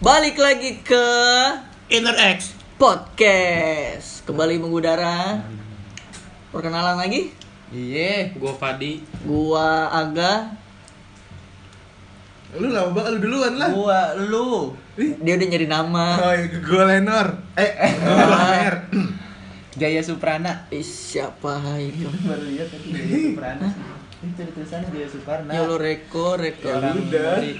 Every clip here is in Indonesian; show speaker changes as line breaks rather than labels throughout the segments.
Balik lagi ke
Inner X.
podcast. Kembali mengudara. Perkenalan lagi.
Iya,
Gua Fadi.
Gua Aga.
lu lama banget lu duluan lah.
gua lu
Dia udah nyari nama.
Oh, gue Lenor. Eh, eh, gue Lenor.
Jaya Suprana
Ih, siapa itu?
baru lihat tadi Jaya Suprana itu tulisannya Jaya Suprana
Yolo Ya Reko Reko.
orang
udah.
dari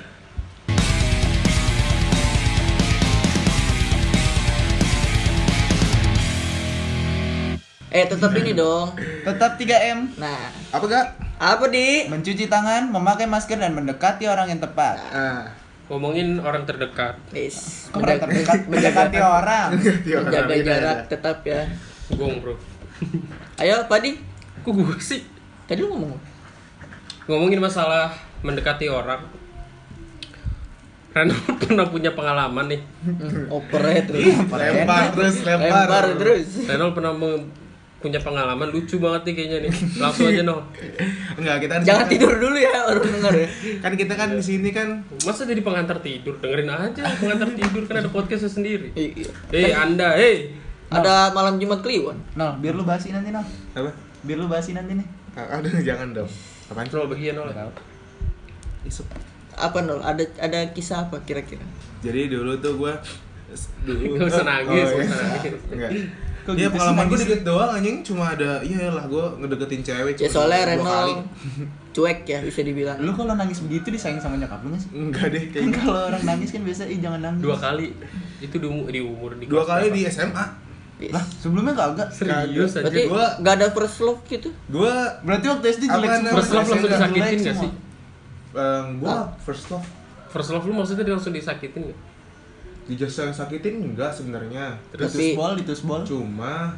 Eh, tetap ini dong.
tetap 3M
Nah,
Apa gak?
apa di?
mencuci tangan memakai masker dan mendekati orang yang tepat
Ah,
Ngomongin orang terdekat.
Is.
Kok orang terdekat mendekati orang
tiap orang
Menjaga
beda ya.
jarak tetap ya.
Gong, Bro.
Ayo, Padi.
Kok gua sih
Tadi lu ngomong.
ngomongin masalah mendekati orang. Reno pernah punya pengalaman nih.
Hmm, Operate terus.
Lempar terus, lempar.
Lempar terus.
Reno pernah me- punya pengalaman lucu banget nih kayaknya nih. Langsung aja noh.
Enggak, kita kan
Jangan tidur dulu ya, orang denger ya.
Kan kita kan di sini kan
Masa jadi pengantar tidur? Dengerin aja pengantar tidur kan ada podcastnya sendiri.
Iya, iya.
Hei, Anda, hei.
Ada malam Jumat Kliwon.
Nol, biar lu basi nanti Nol
apa?
biar lu basi nanti nih
Ah, Aduh, jangan dong. Apaan sih?
Nol bagian nol.
Isep.
Apa nol? Ada ada kisah apa kira-kira?
Jadi dulu tuh gue dulu
Gak usah
Oh,
nangis,
iya.
gak usah nangis.
Enggak.
Kok
Iya,
gitu sih,
pengalaman gue
nangis?
dikit doang anjing cuma ada iyalah gue ngedeketin cewek
Ya
cuma dua
soalnya
kali.
Reno cuek ya bisa dibilang.
lu kalau nangis begitu disayang sama nyokap lu nggak sih
Enggak deh
kan
kayaknya.
kalau orang nangis kan biasa ih jangan nangis
Dua kali. Itu di umur di umur di
gitu. Dua
kelas
kali
berapa?
di SMA.
Yes.
lah sebelumnya kagak
serius aja
Berarti
gua-
nggak ada first love gitu?
Gue
berarti waktu SD
Apa
jelek semua
namanya?
First love langsung
Jelek
disakitin gak
semua.
sih?
gue
Ah.
first love
First love lu maksudnya dia langsung disakitin gak?
dijasa sakitin enggak sebenarnya
Terus
Tapi-
ditusbol ditusbol
cuma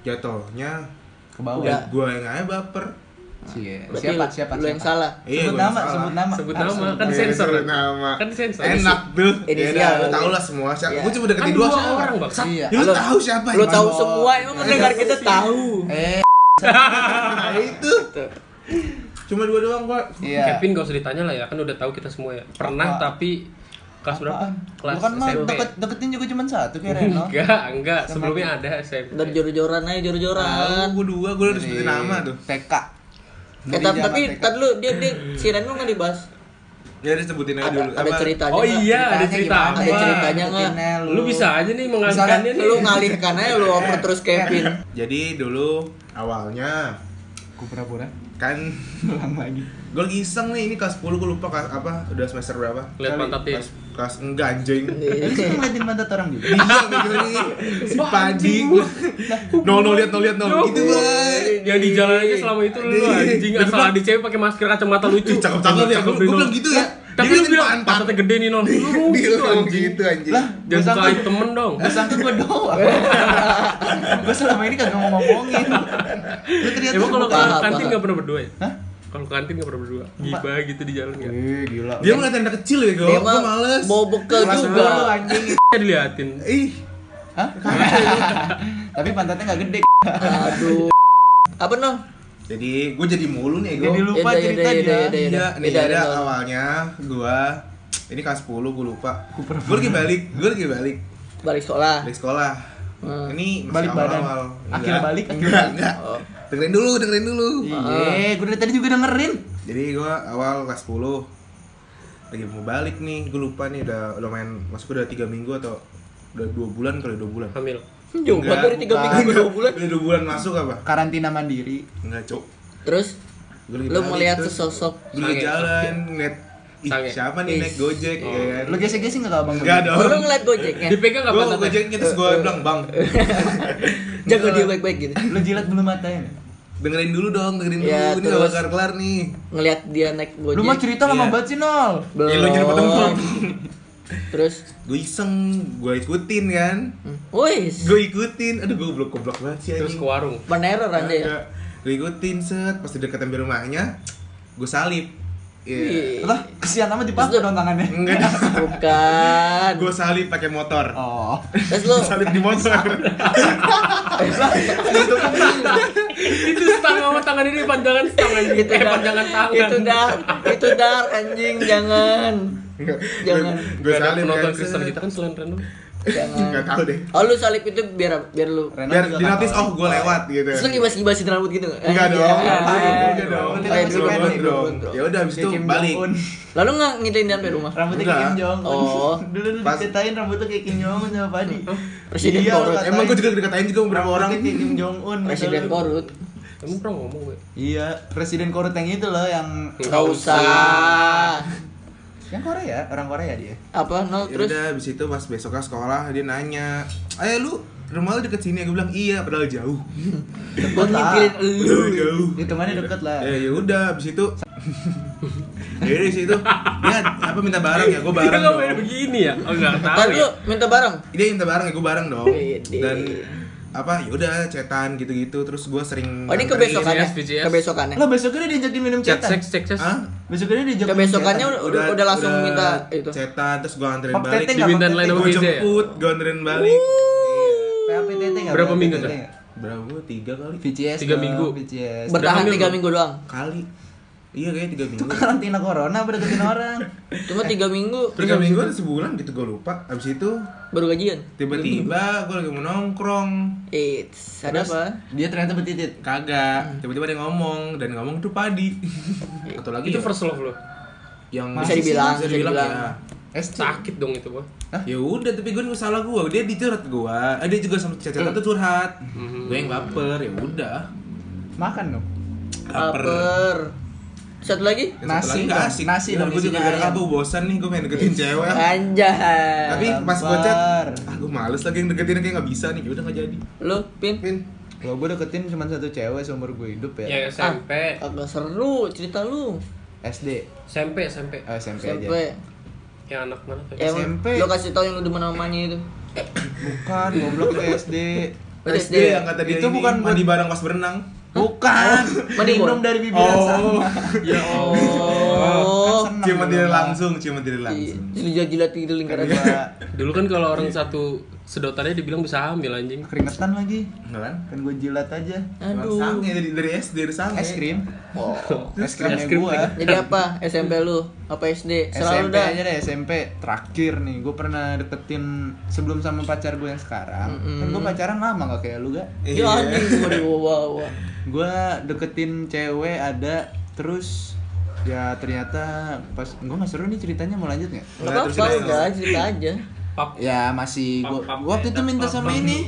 jatuhnya
ke bawah
Udah.
gue yang aja baper
Cie,
Berarti
Eh, siapa
lu-
siapa
lu yang
siapa?
salah.
Iya,
sebut
gua yang
nama,
salah.
sebut nama.
sebut
Ah,
nama
sebut
kan
nama.
sensor
Sebut Iya, nama.
kan sensor
enak tuh ya
Inisial.
udah lu tau lah semua siapa
Iya.
gue cuma
kan
deketin
dua
dua siapa
orang bang
Iya.
ya, lu
Halo.
tahu siapa
Lu
Bang?
tahu
Bang.
semua, emang pendengar kita tahu.
Eh,
Nah, itu
Gitu.
cuma dua doang gue
iya.
Kevin gak usah ditanya lah ya kan udah tahu kita semua ya pernah
Apa?
tapi kelas berapa
Apaan?
kelas
Bukan mah
SMP
deket, deketin juga cuma satu kayak Reno.
enggak enggak
Sama
sebelumnya
aku.
ada SMP
Dari jor-joran aja jor-joran.
gue dua gue udah sebutin nama tuh
TK.
Eh,
Dari
tapi
zaman
tapi
TK.
tadi lu dia dia si Reno nggak dibahas.
ya disebutin aja
Ada
dulu
ada
Apa?
ceritanya.
oh
nggak?
iya ada
Ceritanya
cerita
gimana?
apa
Ada ceritanya nggak?
Deketinnya
lu bisa aja nih mengalihkannya nih
Lu ngalihkan aja lu over terus Kevin.
jadi dulu awalnya
Ku pura-pura
kan
ulang lagi.
gue iseng nih ini kelas 10 gue lupa kelas apa udah semester berapa
lihat pantatnya
kelas kelas enggak anjing
Lu
Iya.
suka ngeliatin pantat orang gitu? juga.
Iya, begitu nih. si padi nol nol lihat nol lihat nol gitu wah
yang di jalan aja selama itu lu anjing asal ada cewek pakai masker kacamata lucu
Ih, cakep cakep ya gue
Dino.
bilang gitu ya
tapi
Dia
lu
kan
bilang
pantat.
pantatnya gede nih non lu
Dia
gitu
ngomong
anjing
gitu anjing
Lah, gua
Jangan
sangka
salahin temen dong.
gua sangka gua doang. Gua selama ini kagak mau ngomongin. Lu ternyata
Emang kalau
suka.
Paham,
ke kantin
paham.
nggak pernah berdua ya?
Hah?
Kalau ke kantin nggak pernah berdua. Gibah gitu di jalan ya.
Eh, gila.
dia ngeliatin anak kecil ya gue
Dia
gue
mah
males
mau bekel
Kelas
juga.
dua lu anjing.
Iya, diliatin.
ih
Hah? Tapi pantatnya enggak gede.
Aduh. Apa nol?
jadi gue jadi mulu nih gue
Jadi lupa
Yaudah,
cerita
yaudah,
dia.
yaudah, yaudah.
Iya, nih
Beda,
ada
beda.
awalnya gue ini kelas 10 gue lupa gue lagi balik gue lagi balik
Balik sekolah.
dari sekolah
Hmm.
ini masih
Balik badan.
awal-awal.
Akhir
Enggak,
balik, akhir
enggak
balik.
enggak
Oh.
dengerin dulu dengerin dulu
Iya, gua dari tadi juga dengerin.
Jadi gua awal kelas 10 lagi mau balik nih, gue lupa nih udah lumayan masuk udah tiga minggu atau udah dua bulan kali dua bulan.
Hamil.
Coba dari tiga
bukan.
minggu dua bulan.
Udah dua bulan masuk apa?
Karantina mandiri.
Enggak cok.
Terus
Gua lagi
lu
balik,
melihat
terus
sesosok
Gua lagi
Sange.
jalan ngeliat Ih,
Sange.
siapa nih naik gojek ya kan?
Lu gesek-gesek enggak ke abang?
Enggak
Oh, lu
dong.
ngeliat gojeknya
Dipegang nggak
Gue
pantatnya?
gojeknya terus gue bilang bang,
jaga dia baik-baik gitu
Lu jilat belum matanya.
dengerin dulu dong, dengerin dulu.
Ya,
ini gak
terus.
bakal kelar nih.
ngeliat dia naik gojek
Lu mah cerita lama
Iya.
banget sih nol.
Belum.
Ya, lu jadi potong-potong.
terus
Gue iseng, gue ikutin kan.
hmm, woi
Gue ikutin, aduh gue goblok-goblok banget sih
Terus
anjing.
ke warung.
peneror anda ya
Kagak. Gue ikutin set, pas di dekat tembel rumahnya, gue salip. Iya.
Ih,
Lah, kesian amat dipakai dong tangannya.
Enggak dah.
bukan
Gue salip pakai motor.
Oh.
terus lu
Salip di motor.
itu setengah sama tangan ini panjangan setengah ini
itu
eh,
dar
panjangan tangan
itu dar itu dar anjing jangan jangan
Gue
Gak ada
salin
penonton
kan.
Kristen kita kan selain random
jangan
Gak tau deh.
oh lu salib itu biar biar lu
Biar di notice, oh gue lewat gitu.
terus lu ngibas ngibasin rambut gitu nggak?
Enggak
Iya.
dong.
Enggak
Enggak dong.
Nanti
Eh, dulu,
Enggak
langsung
dong.
kan,
dulu,
Enggak
nih,
dulu,
dong.
dulu.
Ya udah habis itu
Kayak Kim
balik.
Jong Un.
lalu nggak ngitain dia sampai rumah
Rambutnya kayak
Enggak.
Kim Jong Un.
Oh.
Dulu lu
Pas-
diceritain rambutnya kayak Kim Jong Un sama Padi.
Presiden
Iya,
Korut.
lu katain.
Emang gue juga dikatain juga beberapa orang.
Rambutnya kayak Kim Jong Un. kata
presiden
lu.
korut
kamu pernah ngomong gue
Iya, presiden Korut yang itu loh yang
nggak usah
yang Korea, orang Korea dia.
apa no
Ya
terus
udah habis itu pas besoknya sekolah dia nanya, "Ayo lu rumah lu deket sini?" Gue bilang, "Iya, padahal jauh."
gua ngintilin lu
Padahal jauh.
Hitungannya deket lah.
Ya ya udah habis itu Ya udah di situ dia apa minta barang ya, gue
dia
bareng.
nggak main
dong.
Iya, begini ya oh nggak tahu
tadi
ya
lu minta bareng
Dia minta barang ya, gue bareng dong.
Wede.
Dan apa ya udah cetan gitu-gitu terus gue sering
oh ini
nganterin.
kebesokannya
VCS, VCS.
kebesokannya
Lah besoknya dia diajakin minum
cek
cetan.
cek cek cek
Hah?
Besoknya dia diajakin.
kebesokannya
minum
udah, udah, udah langsung
udah
minta itu
cetan terus gue anterin
Pap
balik
tete nggak,
dimintain
pap
lain
tete?
gue
sama ya? Oke, saya.
ya?"
jemput gue anterin balik
PAPTT nggak?
Berapa minggu
PAPTT
tuh?
nggak?
berapa tiga kali
VCS
Tiga
dong,
minggu.
VCS.
bertahan
hamil
tiga
belum?
minggu doang
kali iya kayaknya tiga
Itu
minggu
karantina corona apa deketin orang?
cuma tiga minggu
tiga minggu atau sebulan gitu gue lupa abis itu
baru gajian
tiba-tiba gue lagi mau nongkrong
Eits, ada
Terus?
apa?
Dia ternyata betitit.
kagak tiba-tiba dia ngomong dan ngomong tuh padi atau lagi
itu
ya,
first love lo
yang
Bisa dibilang,
bisa
bisa
dibilang
dibilang.
ya
SD.
sakit dong itu gua
ya udah tapi gue nggak salah gue dia dicurhat gue eh, dia juga sama cacat tuh curhat gue yang baper ya udah
Makan dong.
Aper. Satu lagi?
Dan satu
Nasi
lagi nggak
dong,
asik.
nasi dong
gue juga
isinya
gara-gara
ayam.
gue bosan nih gue pengen deketin cewek
eh, Anjay.
tapi pas gue chat
Sabar.
ah gue males lagi yang deketin kayak nggak bisa nih Ya udah nggak jadi
Lu, Pin?
Pin
Kalau gue deketin cuma satu cewek seumur gue hidup ya.
ya SMP
Agak seru cerita lu.
SD,
SMP SMP
oh, SMP, aja.
Sampai
yang anak mana tuh
Ya,
SMP.
Lu kasih tau yang lu demen namanya itu.
Bukan, goblok tuh SD.
Udah
SD
SD.
yang kata dia
Itu
ini,
bukan buat-
mandi bareng pas berenang
Bukan.
Mandi
Minum
gua.
dari bibir sama.
ya
Oh.
Kan seneng
ciuman
dong, Iya.
tidak
Bang.
langsung ciuman tidak langsung
Jilat-jilat gitu
Iya.
lingkaran.
Gua
dulu kan kalau orang satu sedotannya dibilang bisa hamil anjing
keringetan lagi.
Enggak kan
Kan gue jilat aja.
Emang
Aduh.
sange dari dari SD dari sange
Es krim.
Oh.
Es krimnya
Es krim
gue.
tiga.
Jadi apa SMP lu? Apa SD? Selalu
SMP
dah.
aja deh SMP terakhir nih gue pernah deketin sebelum sama pacar gue yang sekarang kan gue pacaran lama gak kayak lu gak
Iya.
Ya anjing gua dibawa-bawa.
Nah,
gue deketin cewek ada terus ya ternyata pas gue nggak seru nih ceritanya mau lanjut nggak
Enggak
terus
apa-apa
gimana?
udah cerita aja.
pap
ya masih gue
Pam, pam,
waktu
eh,
itu
pam,
minta
pam,
sama
pam.
ini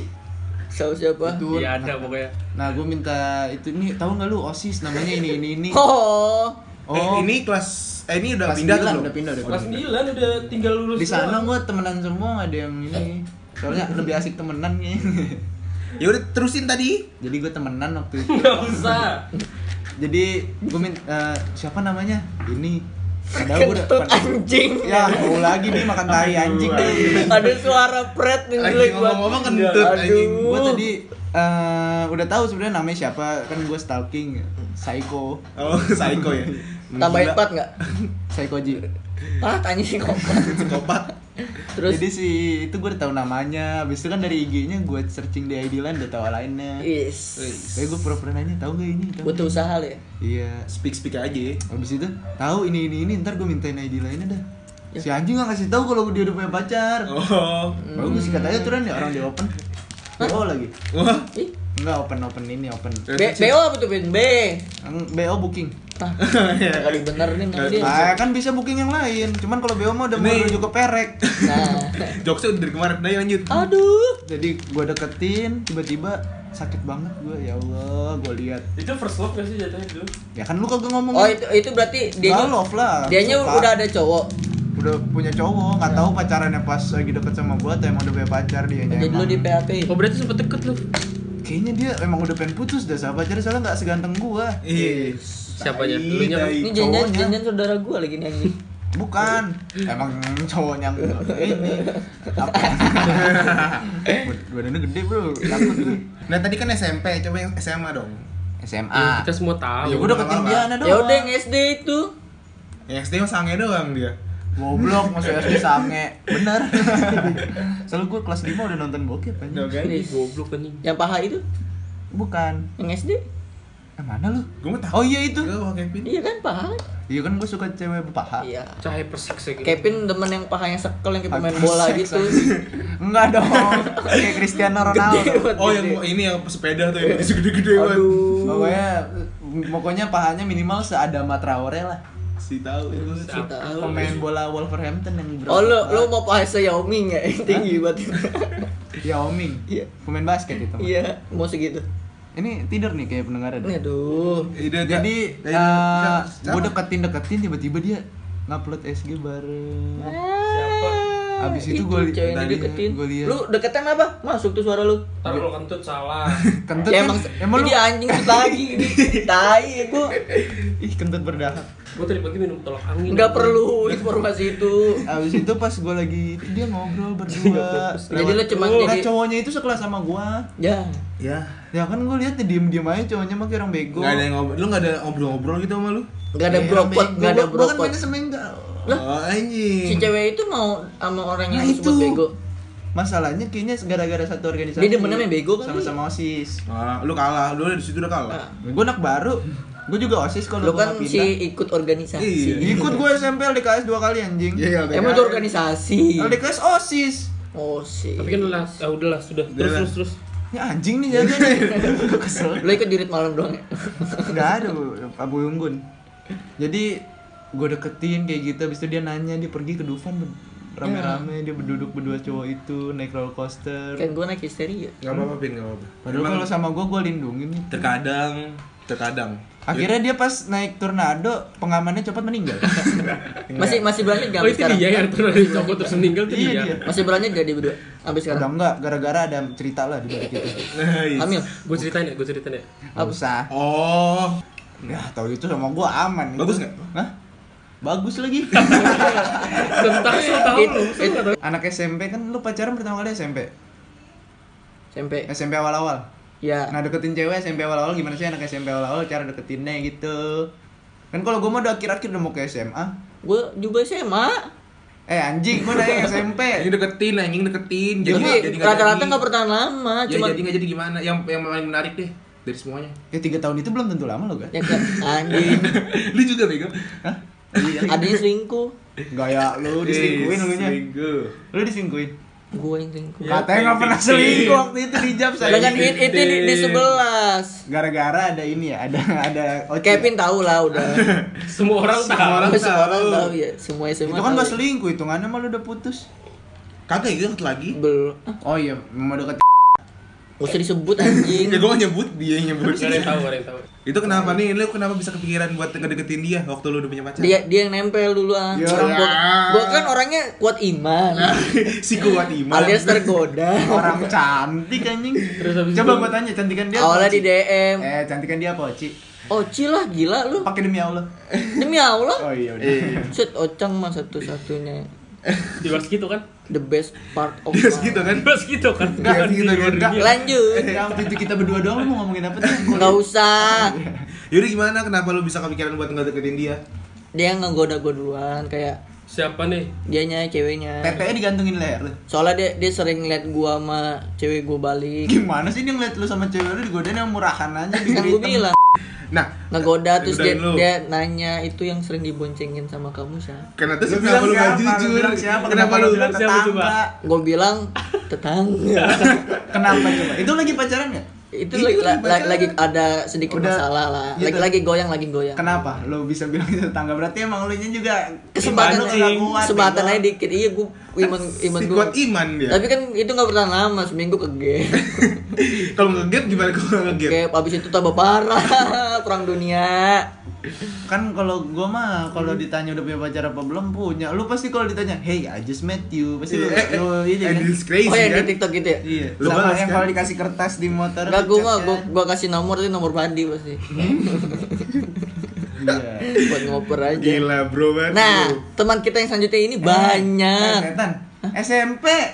Tahu siapa?
itu
ya ada pokoknya
nah gue minta itu ini tahu nggak lu osis namanya ini ini ini
Oh.
oh
eh, ini kelas eh ini udah
Kelas
pindah tuh
sembilan,
belum
udah pindah, udah
Oh,
kelas 9 udah tinggal lulus
di sana gue temenan semua nggak ada yang
Eh.
ini soalnya lebih asik temenan nih
ya udah terusin tadi
jadi gue temenan waktu itu
nggak usah
jadi gue minta siapa namanya ini padahal gue udah
Kentut
pad-
anjing.
ya mau lagi nih makan tai anjing nih
Ada suara pret nih
Lagi
jelek banget.
ngomong-ngomong kentut, anjing.
Aduh.
gue tadi eh, udah tahu sebenarnya namanya siapa kan gue stalking psycho
oh psycho ya
Tambahin
Gila,
empat nggak?
psycho Ji.
Ah, tanya sih kok.
psikopat
Terus
jadi si itu gue udah tahu namanya habis itu kan dari IG-nya gue searching di ID lain udah tahu lainnya
is.
tapi gue pura-pura nanya tahu gak ini tahu nggak?"
Butuh usaha lu ya.
iya
speak speak aja ya
Habis itu tahu ini ini ini ntar gue mintain ID lainnya dah.
Ya.
Si anjing gak ngasih tahu kalau dia udah punya pacar.
oh
Bagus sikat aja tuh Ren, ya orang dia open. BO lagi.
wah
Ih,
Enggak open open ini open.
B BO apa tuh Ben? B.
Eng- BO booking.
Ah,
Iya,
kali bener nih nanti.
Nah, kan bisa booking yang lain. Cuman kalau BO mah udah mau
Nih.
rujuk ke perek.
Nah.
jokesnya udah dari kemarin nah lanjut
Oh.
Aduh.
Jadi gua deketin tiba-tiba sakit banget gua ya Allah gua lihat
itu first love nggak sih jatuhnya dulu
ya kan lu kagak ngomong
Oh, itu itu berarti dia
love lah
dianya
Suka.
udah ada cowok.
udah punya cowok
Iya.
nggak tahu pacarannya pas lagi deket sama gua atau emang udah punya pacar dia
Jadi dulu di PHP.
oh berarti sempet deket lu
kayaknya dia emang udah pengen putus dah sama pacarnya soalnya nggak seganteng gua
Iya.
Ih,
Siapanya?
tai,
Elunya apa?
tai.
Ini janjian
cowoknya.
janjian saudara gua lagi nih anjing.
Bukan, emang cowoknya yang ini apa? Badannya gede bro, takut gue.
Nah tadi kan SMP, coba yang SMA dong.
SMA.
ya, kita semua
Ah.
tahu
Ya gue deketin
Lama.
dia Ana
Ya udah yang
doang.
SD itu.
Yang SD mah sange doang dia.
Goblok, masuk SD sange. Bener. Soalnya gue
kan?
kelas 5 udah nonton bokep aja.
Dogan.
Ih, goblok anjing
Yang paha itu
Bukan.
yang SD.
Eh, mana lu?
Gue mah tahu.
Oh iya itu.
Gue Kevin.
Iya kan paha?
Iya kan gue suka cewek berpaha.
Iya.
Cahaya persiksa gitu.
Kevin demen yang pahanya sekel yang kayak pemain
Hyper
bola
sex,
gitu.
anjing. Enggak dong. Kayak Cristiano Ronaldo.
banget
Oh
gede.
yang ini yang sepeda tuh yang gede-gede banget.
Pokoknya pokoknya pahanya minimal seadama Traore lah.
Si tahu itu.
Si tahu.
Pemain bola Wolverhampton yang
Iya. Oh lu lu mau paha se Yao Ming ya yang tinggi buat
Yao Ming.
Iya.
Ya, Pemain basket itu.
Iya, mau segitu.
Ini tidur nih kayak pendengarnya.
Nih aduh.
Ide
Jadi
Iya.
eh, gue deketin deketin tiba-tiba dia ngupload SG bareng.
Siapa?
Abis itu gua li-
cewek yang
tadi
dideketin.
gua lihat.
Lu deketan apa? Masuk tuh suara lu.
Ntar lu kentut salah.
Kentut
Ya
kan?
emang,
emang lu
dia anjing tuh lagi Tai ya gua
ih kentut berdahak.
Gue tadi pagi minum tolak angin.
Nggak perlu informasi itu
Abis itu pas gue lagi dia ngobrol
Iya,
berdua.
Jadi lu cuma
Nah,
jadi
cowoknya itu sekelas sama gua.
Ya
ya
Ya kan gue lihat dia diem-diem aja cowoknya mah kayak orang bego.
nggak ada yang ngobrol, lu nggak ada ngobrol-ngobrol gitu sama lu?
Gak ada
Kayak orang
brokot,
bego.
gak ada
Iya, Gua- gua kan
brokot
mainnya semenggal.
Oh,
Si
anjing.
cewek itu mau sama orang yang
Nah,
disebut
itu.
bego
Masalahnya kayaknya gara-gara satu organisasi.
Dia demennya sama bego kali.
Sama-sama OSIS.
Ah, lu kalah, lu di situ udah kalah.
Nah,
Gue anak baru. Gue juga OSIS kalau
Lu
gua
kan
nggak
si
pindah.
ikut organisasi
Iya.
Ikut gue SMP LDKS dua kali anjing. Iya.
Iya,
Emang itu organisasi
LDKS OSIS.
Oh sih
Tapi kan lah, ah, udahlah sudah. Terus
Udah.
terus terus.
Ya anjing nih jaga nih. Gua Kesel.
Lu ikut jurit malam doang ya
Enggak ada Abu Unggun. Jadi gue deketin kayak gitu habis itu dia nanya dia pergi ke Dufan ber- rame-rame dia berduduk berdua cowok itu naik roller coaster.
Kan gue naik histeria
Gak apa-apa, Pin, gak apa-apa.
Padahal
Emang
kalau sama gue gue lindungin nih.
terkadang, terkadang.
Akhirnya dia pas naik tornado pengamannya cepat meninggal.
Masih masih berlanjut gak
Oh itu dia yang terus dari cowok terus meninggal tuh
Iya,
dia.
dia.
Masih berlanjut gak dia berdua Sampai
Udah
sekarang
enggak gara-gara ada cerita lah di balik itu.
Nice.
Hamil
Gue ceritain ya, gue ceritain ya.
Gak usah.
Oh,
Ya, tahu itu sama gue aman.
Bagus nggak?
Hah? Bagus lagi.
Tentang so tau lu.
It- it-
Anak SMP kan lu pacaran pertama kali SMP.
SMP
SMP awal-awal.
Ya
Nah deketin cewek SMP awal-awal gimana sih anak SMP awal-awal cara deketinnya gitu Kan kalau gue mah udah akhir-akhir udah mau ke SMA
Gue juga SMA
Eh anjing gue nanya SMP
ini deketin, anjing deketin.
Jadi
nggak
rata-rata
jadi.
gak pernah lama
Ya,
Cuma
jadi nggak jadi gimana? Yang yang paling menarik deh dari semuanya.
Ya tiga tahun itu belum tentu lama loh kan
Ya kan Anjing
lu juga kan? bego. Hah?
Iya.
Adanya selingkuh
Gaya lu
Iya,
diselingkuhin lu nya
Eh, Selingkuh.
Lu diselingkuhin
Gue yang selingkuh
Ya,
Katanya nggak pernah
penting.
selingkuh waktu itu di jam Iya. saya
Iya, Dengan it- itu di, di sebelas
Gara-gara ada ini ya ada ada Oci.
Kevin tahu lah udah.
Semua orang tahu.
Orang
semua orang
tahu.
tahu ya, semua SMA.
Itu kan
tahu.
gak selingkuh hitungannya malu udah putus
Kagak ya, satu lagi.
Belum. Ah,
Oh iya mau deket
Gak usah disebut anjing.
Ya gue nyebut, dia yang nyebut.
Gak ada yang tahu, gak ada yang tahu.
Itu kenapa nih? Lu kenapa bisa kepikiran buat ngedeketin dia waktu lu udah punya pacar?
Dia dia yang nempel dulu ah.
Ya.
Orang Gua, gua kan orangnya kuat iman.
si kuat iman.
Alias tergoda.
orang cantik anjing
Terus habis itu-
Coba gue tanya cantikan dia apa,
Awalnya di
Oci?
DM.
Eh cantikan dia apa Oci?
Oci lah gila lu.
Pakai demi Allah
Demi Allah.
Oh iya udah
Eh,
Set Ocang mah satu-satunya
Di luar segitu kan?
the best part of
dia
life.
segitu
Di
kan?
luar segitu kan?
Di luar segitu,
Di luar
kan?
dunia.
Lanjut.
gitu, Ya, waktu itu kita berdua doang mau ngomongin apa tuh?
Nggak usah.
Yaudah gimana? Kenapa lu bisa kepikiran buat ngedeketin dia?
Dia ngegoda gua duluan kayak
Siapa nih?
dianya ceweknya.
Tetenya digantungin leher lu.
Soalnya dia, dia sering ngeliat gua sama cewek gua balik.
Gimana sih dia ngeliat lu sama cewek lu digodain yang murahan aja di
kan gue bilang
Nah,
ngegoda terus dia,
Godain lu.
dia nanya itu yang sering diboncengin sama kamu sih
Kenapa
Lu
sih kenapa
bilang
lu gak
siapa? Lu
jujur?
bilang siapa?
Kenapa lu
bilang
siapa
tetangga?
coba?
gue bilang tetangga
Kenapa coba? Itu lagi pacaran nggak?
itu
Itu
lagi, la-
lagi pacaran.
la- lagi ada sedikit
Iya, Udah.
masalah lah
Iya, Kan
lagi
tuh.
lagi goyang lagi goyang
Kenapa? Lu bisa bilang itu tetangga berarti emang lu nya juga
kesempatan
iman lu nggak kuat,
kesempatan
bego.
aja
Kan
dikit iya gue iman iman
Si
gue
iya.
kuat iman dia.
tapi kan itu nggak bertahan lama seminggu ke gap
Kalau ngegap gimana kalau ngegap?
gap abis itu tambah parah perang dunia
Kan kalau gua mah
Hmm.
kalau ditanya udah punya pacar apa belum punya. Lu pasti kalau ditanya, "Hey, I just met you." Pasti lu,
Eh, eh,
lu ini kan.
and it's crazy
oh ya
kan?
di tiktok gitu ya
Iya.
Lu
Sama
balas
yang
kan?
kalau dikasih kertas di motor.
Enggak, gue mah,
dicat
gue
kan?
gue kasih nomor itu nomor Bandi pasti
Iya.
Buat ngoper aja
Gila Eh, bro banget.
Nah, teman kita yang selanjutnya ini banyak.
Eh, setan. SMP.
eh.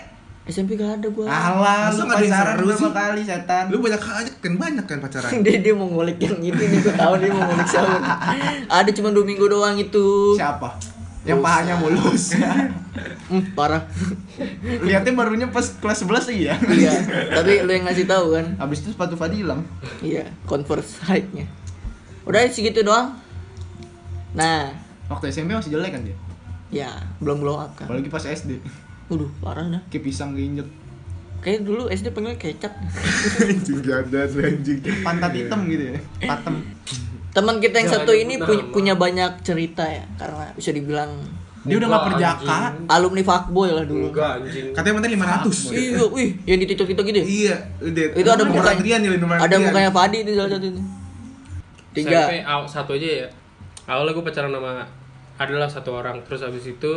SMP gak ada gua.
Alah,
Masa nggak
lu
ada yang
pacaran
seru
berapa
sih?
kali setan?
lu, lu banyak aja kan banyak kan pacaran.
dia dia mau ngulik yang itu nih gua tahu dia mau ngulik siapa. Ada cuma dua minggu doang itu.
Siapa? Yang pahanya mulus.
Hmm, parah.
Lihatnya barunya pas kelas 11 lagi ya.
iya, tapi lu yang ngasih tahu kan.
Habis itu sepatu Fadi hilang.
Iya, Converse high-nya. Udah segitu doang. Nah,
Waktu SMP masih jelek kan dia?
ya belum blow up kan.
Apalagi pas SD.
Waduh, parah dah.
Kayak pisang keinjek.
Kayak dulu SD panggil kecap.
anjing gak ada tuh, anjing
Pantat hitam gitu ya. Patem.
Teman kita yang
Jangan
satu ini
nyebut
punya,
nama.
punya banyak cerita ya, karena bisa dibilang
Dia udah nggak
Enggak,
perjaka.
anjing.
alumni fuckboy lah dulu.
Enggak anjing.
Kan
katanya mantan lima ratus
Iya, wih, yang di TikTok kita gitu. ya?
iya udah
Itu ada
nomor
mukanya.
antrian
ya,
nilai nomor
Ada
antrian.
mukanya Fadi itu salah satu itu. Tiga.
SMP aw- satu aja ya. Awalnya gue pacaran sama adalah satu orang terus habis itu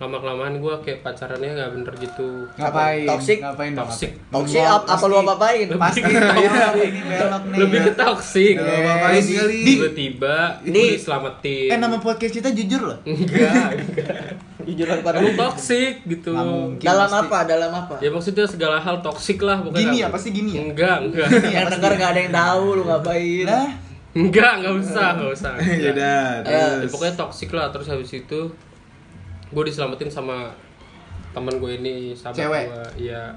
lama kelamaan gue kayak pacarannya nggak bener gitu
Ngapain?
Toxic?
Ngapain dong?
Toxic.
Toksi apa, apa lu apa-apain?
Pasti. Iya, ini belok nih. ya.
lebih ke toxic
Udah apa-apain kali.
tiba-tiba gue
Ini-
diselamatin
Eh nama podcast kita jujur loh.
enggak
Jujur lah pada
kamu
lu.
toxic gitu
Nggak mungkin.
Dalam
Pasti.
apa? Dalam apa?
ya maksudnya segala hal toxic lah pokoknya
Gini
nggak-
ya, pasti gini ya?
enggak enggak
Yang dengar gak ada yang tahu lu ngapain.
Nah,
enggak enggak usah enggak usah
ya
enggak.
udah
Ya,
terus
pokoknya toxic lah terus habis itu gue diselamatin sama teman gue ini sahabat
Cewek?
gue iya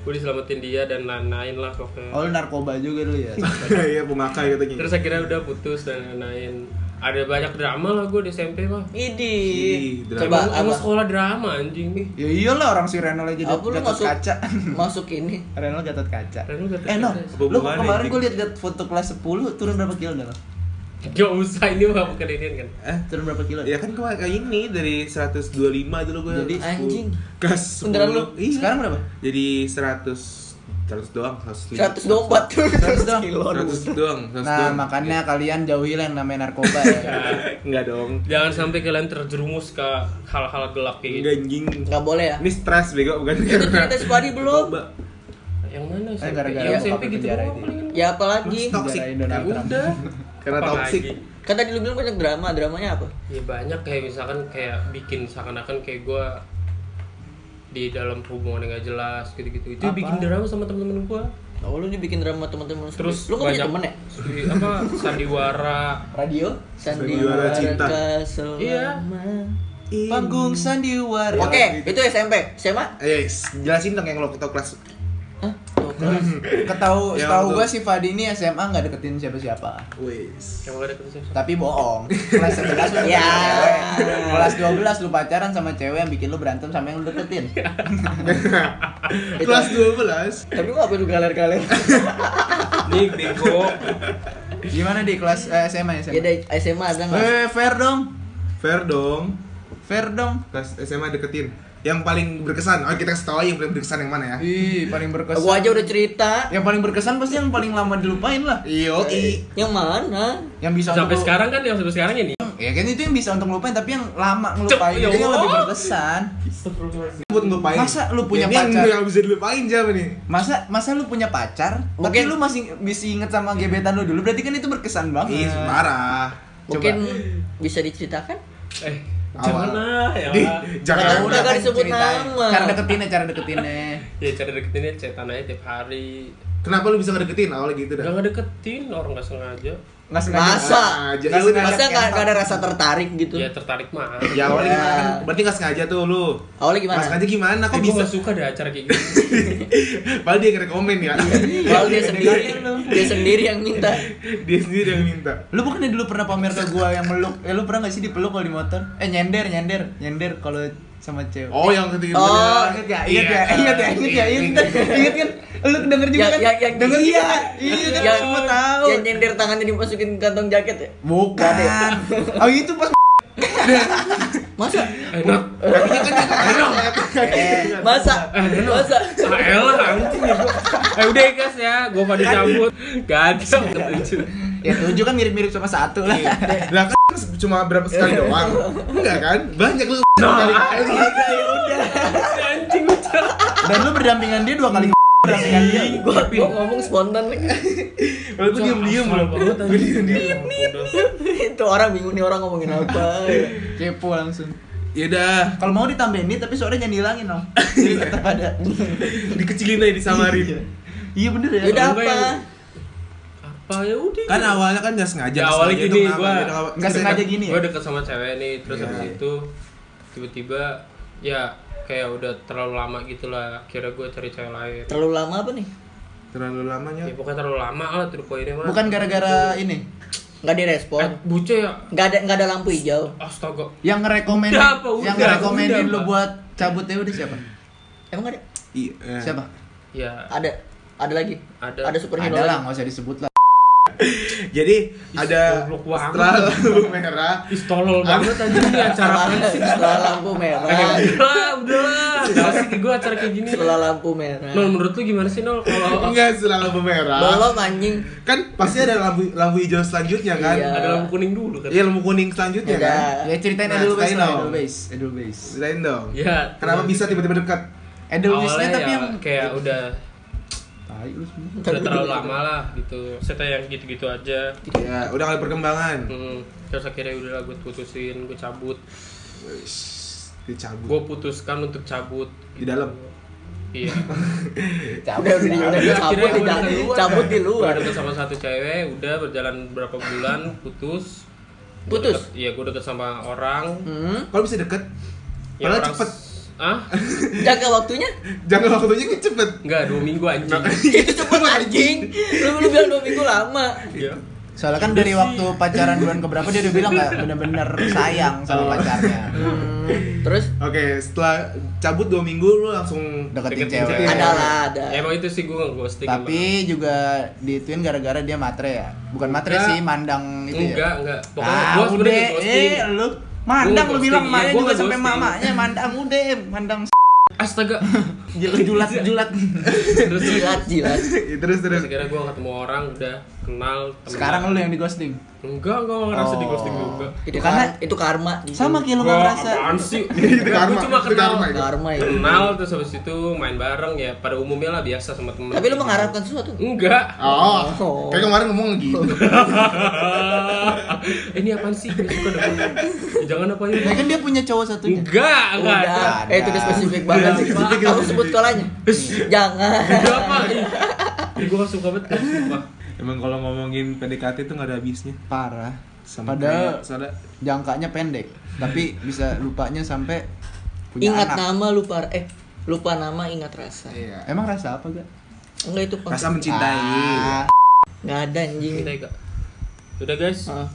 gue diselamatin dia dan lain-lain lah pokoknya
oh lu narkoba juga dulu ya.
iya pemakai katanya
terus akhirnya udah putus dan lain-lain ada banyak drama lah gue di SMP mah
Idi.
Idi,
Coba
Emang- emang
apa?
sekolah gitu. drama anjing nih
Ya iyalah orang si Renol aja
Apa
jat-
lu
gatot
masuk
kaca.
masuk ini?
Renol gatot kaca.
Renol gatot
Eh no,
kaca.
lu
Hubungannya,
kemarin
anjing.
gue liat liat foto kelas 10 turun berapa kilo dalam?
gak usah ini mah bukan ini kan
Turun berapa kilo?
ya kan gua kayak ini dari 125 dulu gue
Jadi,
anjing.
gas
Beneran lu?
iya.
Sekarang berapa?
jadi 100 100 doang 100
124 dompat tuh
100
kilo.
100 doang 100
Nah
doang
makanya kalian jauhilah yang namanya narkoba ya.
enggak dong
jangan sampai kalian terjerumus ke hal-hal gelap kayak gitu
enggak anjing
Enggak boleh ya?
ini stres bego bukan
Itu cerita si Padi belum?
Coba.
yang mana SMP
gara-gara
yang
bokap
SMP
di
gitu
penjara
doang
itu.
paling
Ya apalagi?
Lu Toxic.
Penjarain Donald
Ya
Trump.
udah
karena
Apa
toxic
lagi?
Kan tadi lu bilang banyak drama, dramanya apa?
ya banyak kayak misalkan kayak bikin seakan-akan kayak gue di dalam hubungan yang gak jelas gitu-gitu itu
Apa?
bikin drama sama temen-temen gue
Oh lu nih bikin drama teman-teman lu
terus
sendiri. lu kan punya
banyak
temen ya?
Di- apa sandiwara
Radio?
Sandiwara
cinta.
keselama.
Iya.
Panggung sandiwara.
Oke, itu SMP. SMA?
Eh, Yes, jelasin dong yang lo kita kelas
Hah? Tuh, kelas.
Ketahu,
Iya,
Yang
setahu
waktu-
gue si Fadi ini SMA nggak deketin siapa-siapa.
Wes.
yang ada kerja
Tapi bohong. Kelas 11 lu
Ya.
deketin cewek. Kelas 12 lu pacaran sama cewek yang bikin lu berantem sama yang lu deketin.
Kelas 12.
Tapi lu apa lu galer-galer?
nih bego
Gimana di kelas eh,
Ya
SMA SMA?
deh, SMA ada nggak?
Eh, fair dong.
Fair dong.
Fair dong.
Kelas SMA deketin. Yang paling berkesan. Oh, kita kasih tahu aja yang paling berkesan yang mana ya?
Ih, paling berkesan.
Gua aja udah cerita.
Yang paling berkesan pasti yang paling lama dilupain lah.
Iya,
Yang mana?
Yang bisa
sampai
untuk lu-
sekarang kan yang sampai sekarang ini
Ya kan itu yang bisa untuk ngelupain tapi yang lama ngelupain
ya
itu yang
Allah.
lebih berkesan.
Eh, buat ngelupain.
Masa lu
Ini
punya
yang
pacar?
nggak bisa dilupain jam nih.
Masa masa lu punya pacar,
Mungkin-
tapi lu masih bisa inget sama gebetan lu dulu. Berarti kan itu berkesan
Ih,
Iya,
banget.
parah.
Mungkin bisa diceritakan?
eh
Awal.
jangan lah ya
Di,
lah.
Kalau
jangan.
udah kan disebut
ceritain.
nama.
Cara deketinnya, cara deketinnya.
ya cara deketinnya cetan aja tiap hari
Kenapa lu bisa ngedeketin awalnya gitu
udah
dah?
nggak deketin orang nggak sengaja
Enggak sengaja.
Masa?
aja.
Nggak
Ya udah.
sengaja.
Masa nggak nggak ada rasa tertarik gitu?
ya tertarik mah
Ya awalnya
Iya.
Ya.
gimana kan? Berarti nggak sengaja tuh lu.
Awalnya gimana?
Nggak sengaja gimana?
Eh,
Kok
Kok bisa?
gak suka deh acara kayak gitu
Padahal dia yang rekomen ya.
Kalau
Iya.
dia sendiri, dia sendiri yang minta.
dia sendiri yang minta.
Lu bukannya dulu pernah pamer ke gua yang meluk? Eh lu pernah gak sih dipeluk kalau di motor? Eh nyender, nyender, nyender kalau sama cewek.
Oh, yang Iya. ketiga.
Oh,
Ingat ya, ingat ya, ingat ya, ingat ya, ingat kan? Ingat kan? Lu denger juga
Ya,
kan?
ya, yang
denger
iya,
kan? Iya kan?
yang
Semua tahu.
Yang nyender tangannya dimasukin ke kantong jaket ya?
ya. Bukan. Oh itu pas
Masa?
enak
Eh,
Masa? Masa?
ah elah anjing ya gua. eh udah ya guys ya gua pada cabut gak ada lucu
Ya tujuh kan mirip-mirip sama satu lah.
Lah kan cuma berapa sekali doang? Enggak kan? Banyak lu
Nah.
sekali.
Nah, ah. anjing lucu
Dan lu berdampingan dia dua kali berdampingan dia.
Gua, gua ngomong spontan lagi.
Kalau gue diam-diam loh. Gue diam-diam.
Itu orang bingung nih orang ngomongin apa. ya.
Kepo langsung.
Ya udah,
Kalau mau ditambahin ini tapi suaranya jangan dihilangin dong. Jadi tetap ada.
dikecilin aja disamarin.
Iya. Iya bener ya.
Ya udah apa?
apa ya udah
Kan awalnya kan enggak sengaja.
Ya, awalnya
sengaja
gini,
dong,
gua-
awalnya dong, awal-
Nggak sengaja gini ya.
gua deket sama cewek nih terus habis itu tiba-tiba ya kayak udah terlalu lama gitu lah kira gua cari cewek lain
Terlalu lama apa nih?
terlalu lamanya
Ya, pokoknya terlalu lama lah tuh poinnya mah.
Bukan gara-gara ini.
nggak
Eh,
direspon
buce ya.
nggak ada nggak ada lampu hijau
Astaga.
Yang ngerekomen
Udah, apa?
yang
Udah,
ngerekomenin
udah,
lu
Pak.
buat cabut ya udah siapa?
emang ada
Iya.
I- eh.
Siapa?
Ya,
ada ada lagi
Ada.
ada superhero
Ada lah,
lagi.
nggak usah disebut lah.
jadi
Ih,
ada
goblok banget.
setelah lampu merah
Is tolol banget aja nih acara
setelah,
apa sih?
setelah lampu merah
Udah, udah. Gak asik nih gua acara kayak gini.
setelah lampu merah
Nol, menurut lu gimana sih Nol? Kalau
enggak setelah lampu merah
belum anjing
kan pasti ada lampu lampu hijau selanjutnya kan
Iya.
ada lampu kuning dulu kan?
Iya lampu kuning selanjutnya
Ada.
kan
Ya ceritain
Nah,
Edelweiss
ceritain
lah,
dong.
Edelweiss, Edelweiss.
Selain dong
Ya.
kenapa bisa tiba-tiba dekat
Edelweissnya
Awalnya
tapi
ya
yang
kayak udah
Tai lu semua.
udah terlalu lama lah gitu. Saya yang gitu-gitu aja.
ya udah kali perkembangan
Hmm, terus akhirnya udah lah gue putusin, gue cabut.
Wiss, dicabut
Gue putuskan untuk cabut.
di dalam
Iya.
udah udah udah cabut
Udah, akhirnya
di
udah
dalam-
keluar.
cabut di
Gue
luar
deket sama satu cewek, udah berjalan berapa bulan, putus. Gua
Putus?
deket- Iya, gue deket sama orang.
hmm?
kalau bisa deket
Ya,
padahal
orang-
cepet
Ah?
jaga waktunya
jangan waktunya kan cepet
Enggak, dua minggu anjing.
itu cepet anjing lu lu bilang dua minggu lama
Iya.
Soalnya kan dari waktu pacaran bulan keberapa dia udah bilang nggak bener-bener sayang
Oh.
sama pacarnya.
Hmm, terus
oke setelah cabut dua minggu lu langsung
Deketin
Deketin
cewek.
cewek.
ada lah ada
Ya, emang itu sih gue nge-ghosting. emang.
Tapi juga dituin gara-gara dia matre ya. Bukan matre
Enggak.
sih, mandang itu
enggak,
ya.
enggak. Pokoknya
Ah,
gue
udah,
sebenernya
eh,
ghosting.
lu mandang
Gua
lu bilang
nge-ghosting,
kemarin
iya, gua
juga sampai
nge-ghosting.
mamanya mandang udah, mandang s***,
Astaga.
julat
Iya.
julat.
terus
jilat jilat
terus terus
terus akhirnya gue ketemu orang udah kenal temenan.
Sekarang lu yang di ghosting.
enggak enggak gua ngerasa di ghosting
Oh.
juga
itu
Ya,
karma
karena-
itu karma
Sama kayak lu nggak
Wah,
ngerasa.
apaan sih
Itu karma,
gue cuma
itu
kenal
ya?
karma, itu.
karma ya. itu
kenal terus habis itu main bareng ya pada umumnya lah biasa sama temen
tapi lu mengharapkan sesuatu
enggak
oh,
Oh.
kayak kemarin ngomong gitu
Eh, ini apaan sih Gak suka dengan jangan apa ini
Ya kan dia punya cowok satunya.
enggak enggak ada
udah eh itu udah spesifik banget
Udah,
sih
Pak.
kamu sebut sekolahnya jangan
udah apa gue gak suka banget gak suka
emang kalau ngomongin PDKT itu nggak ada habisnya
Parah.
sama
Padahal
kayak soda
jangkanya pendek, tapi bisa lupanya sampai punya
ingat
anak.
nama lupa eh lupa nama ingat rasa
iya
Emang rasa apa gak?
enggak itu pak
rasa mencintai
Ah,
nggak ada anjing
Ini enggak udah guys
Ah.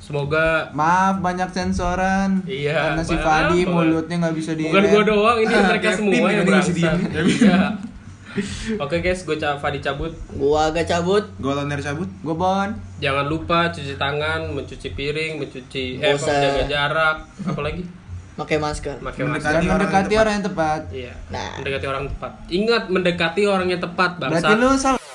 semoga
maaf banyak sensoran.
Iya,
Karena si
parah,
Fadi
parah.
mulutnya nggak bisa di.
bukan gue doang ini mereka
Kevin,
semua yang
ini masih
berangsa Iya.
diem.
oke guys gue Fadi cabut
gua agak cabut
gue loner cabut
Gue bon.
Jangan lupa cuci tangan, mencuci piring, mencuci eh
Bosa.
menjaga jarak, apalagi
pakai masker
pakai masker.
Mendekati
Dan
orang
mendekati
yang tepat.
orang yang tepat.
Iya.
Nah.
Mendekati orang tepat. Ingat mendekati orang yang tepat,
Berarti
bangsa.
lu salah.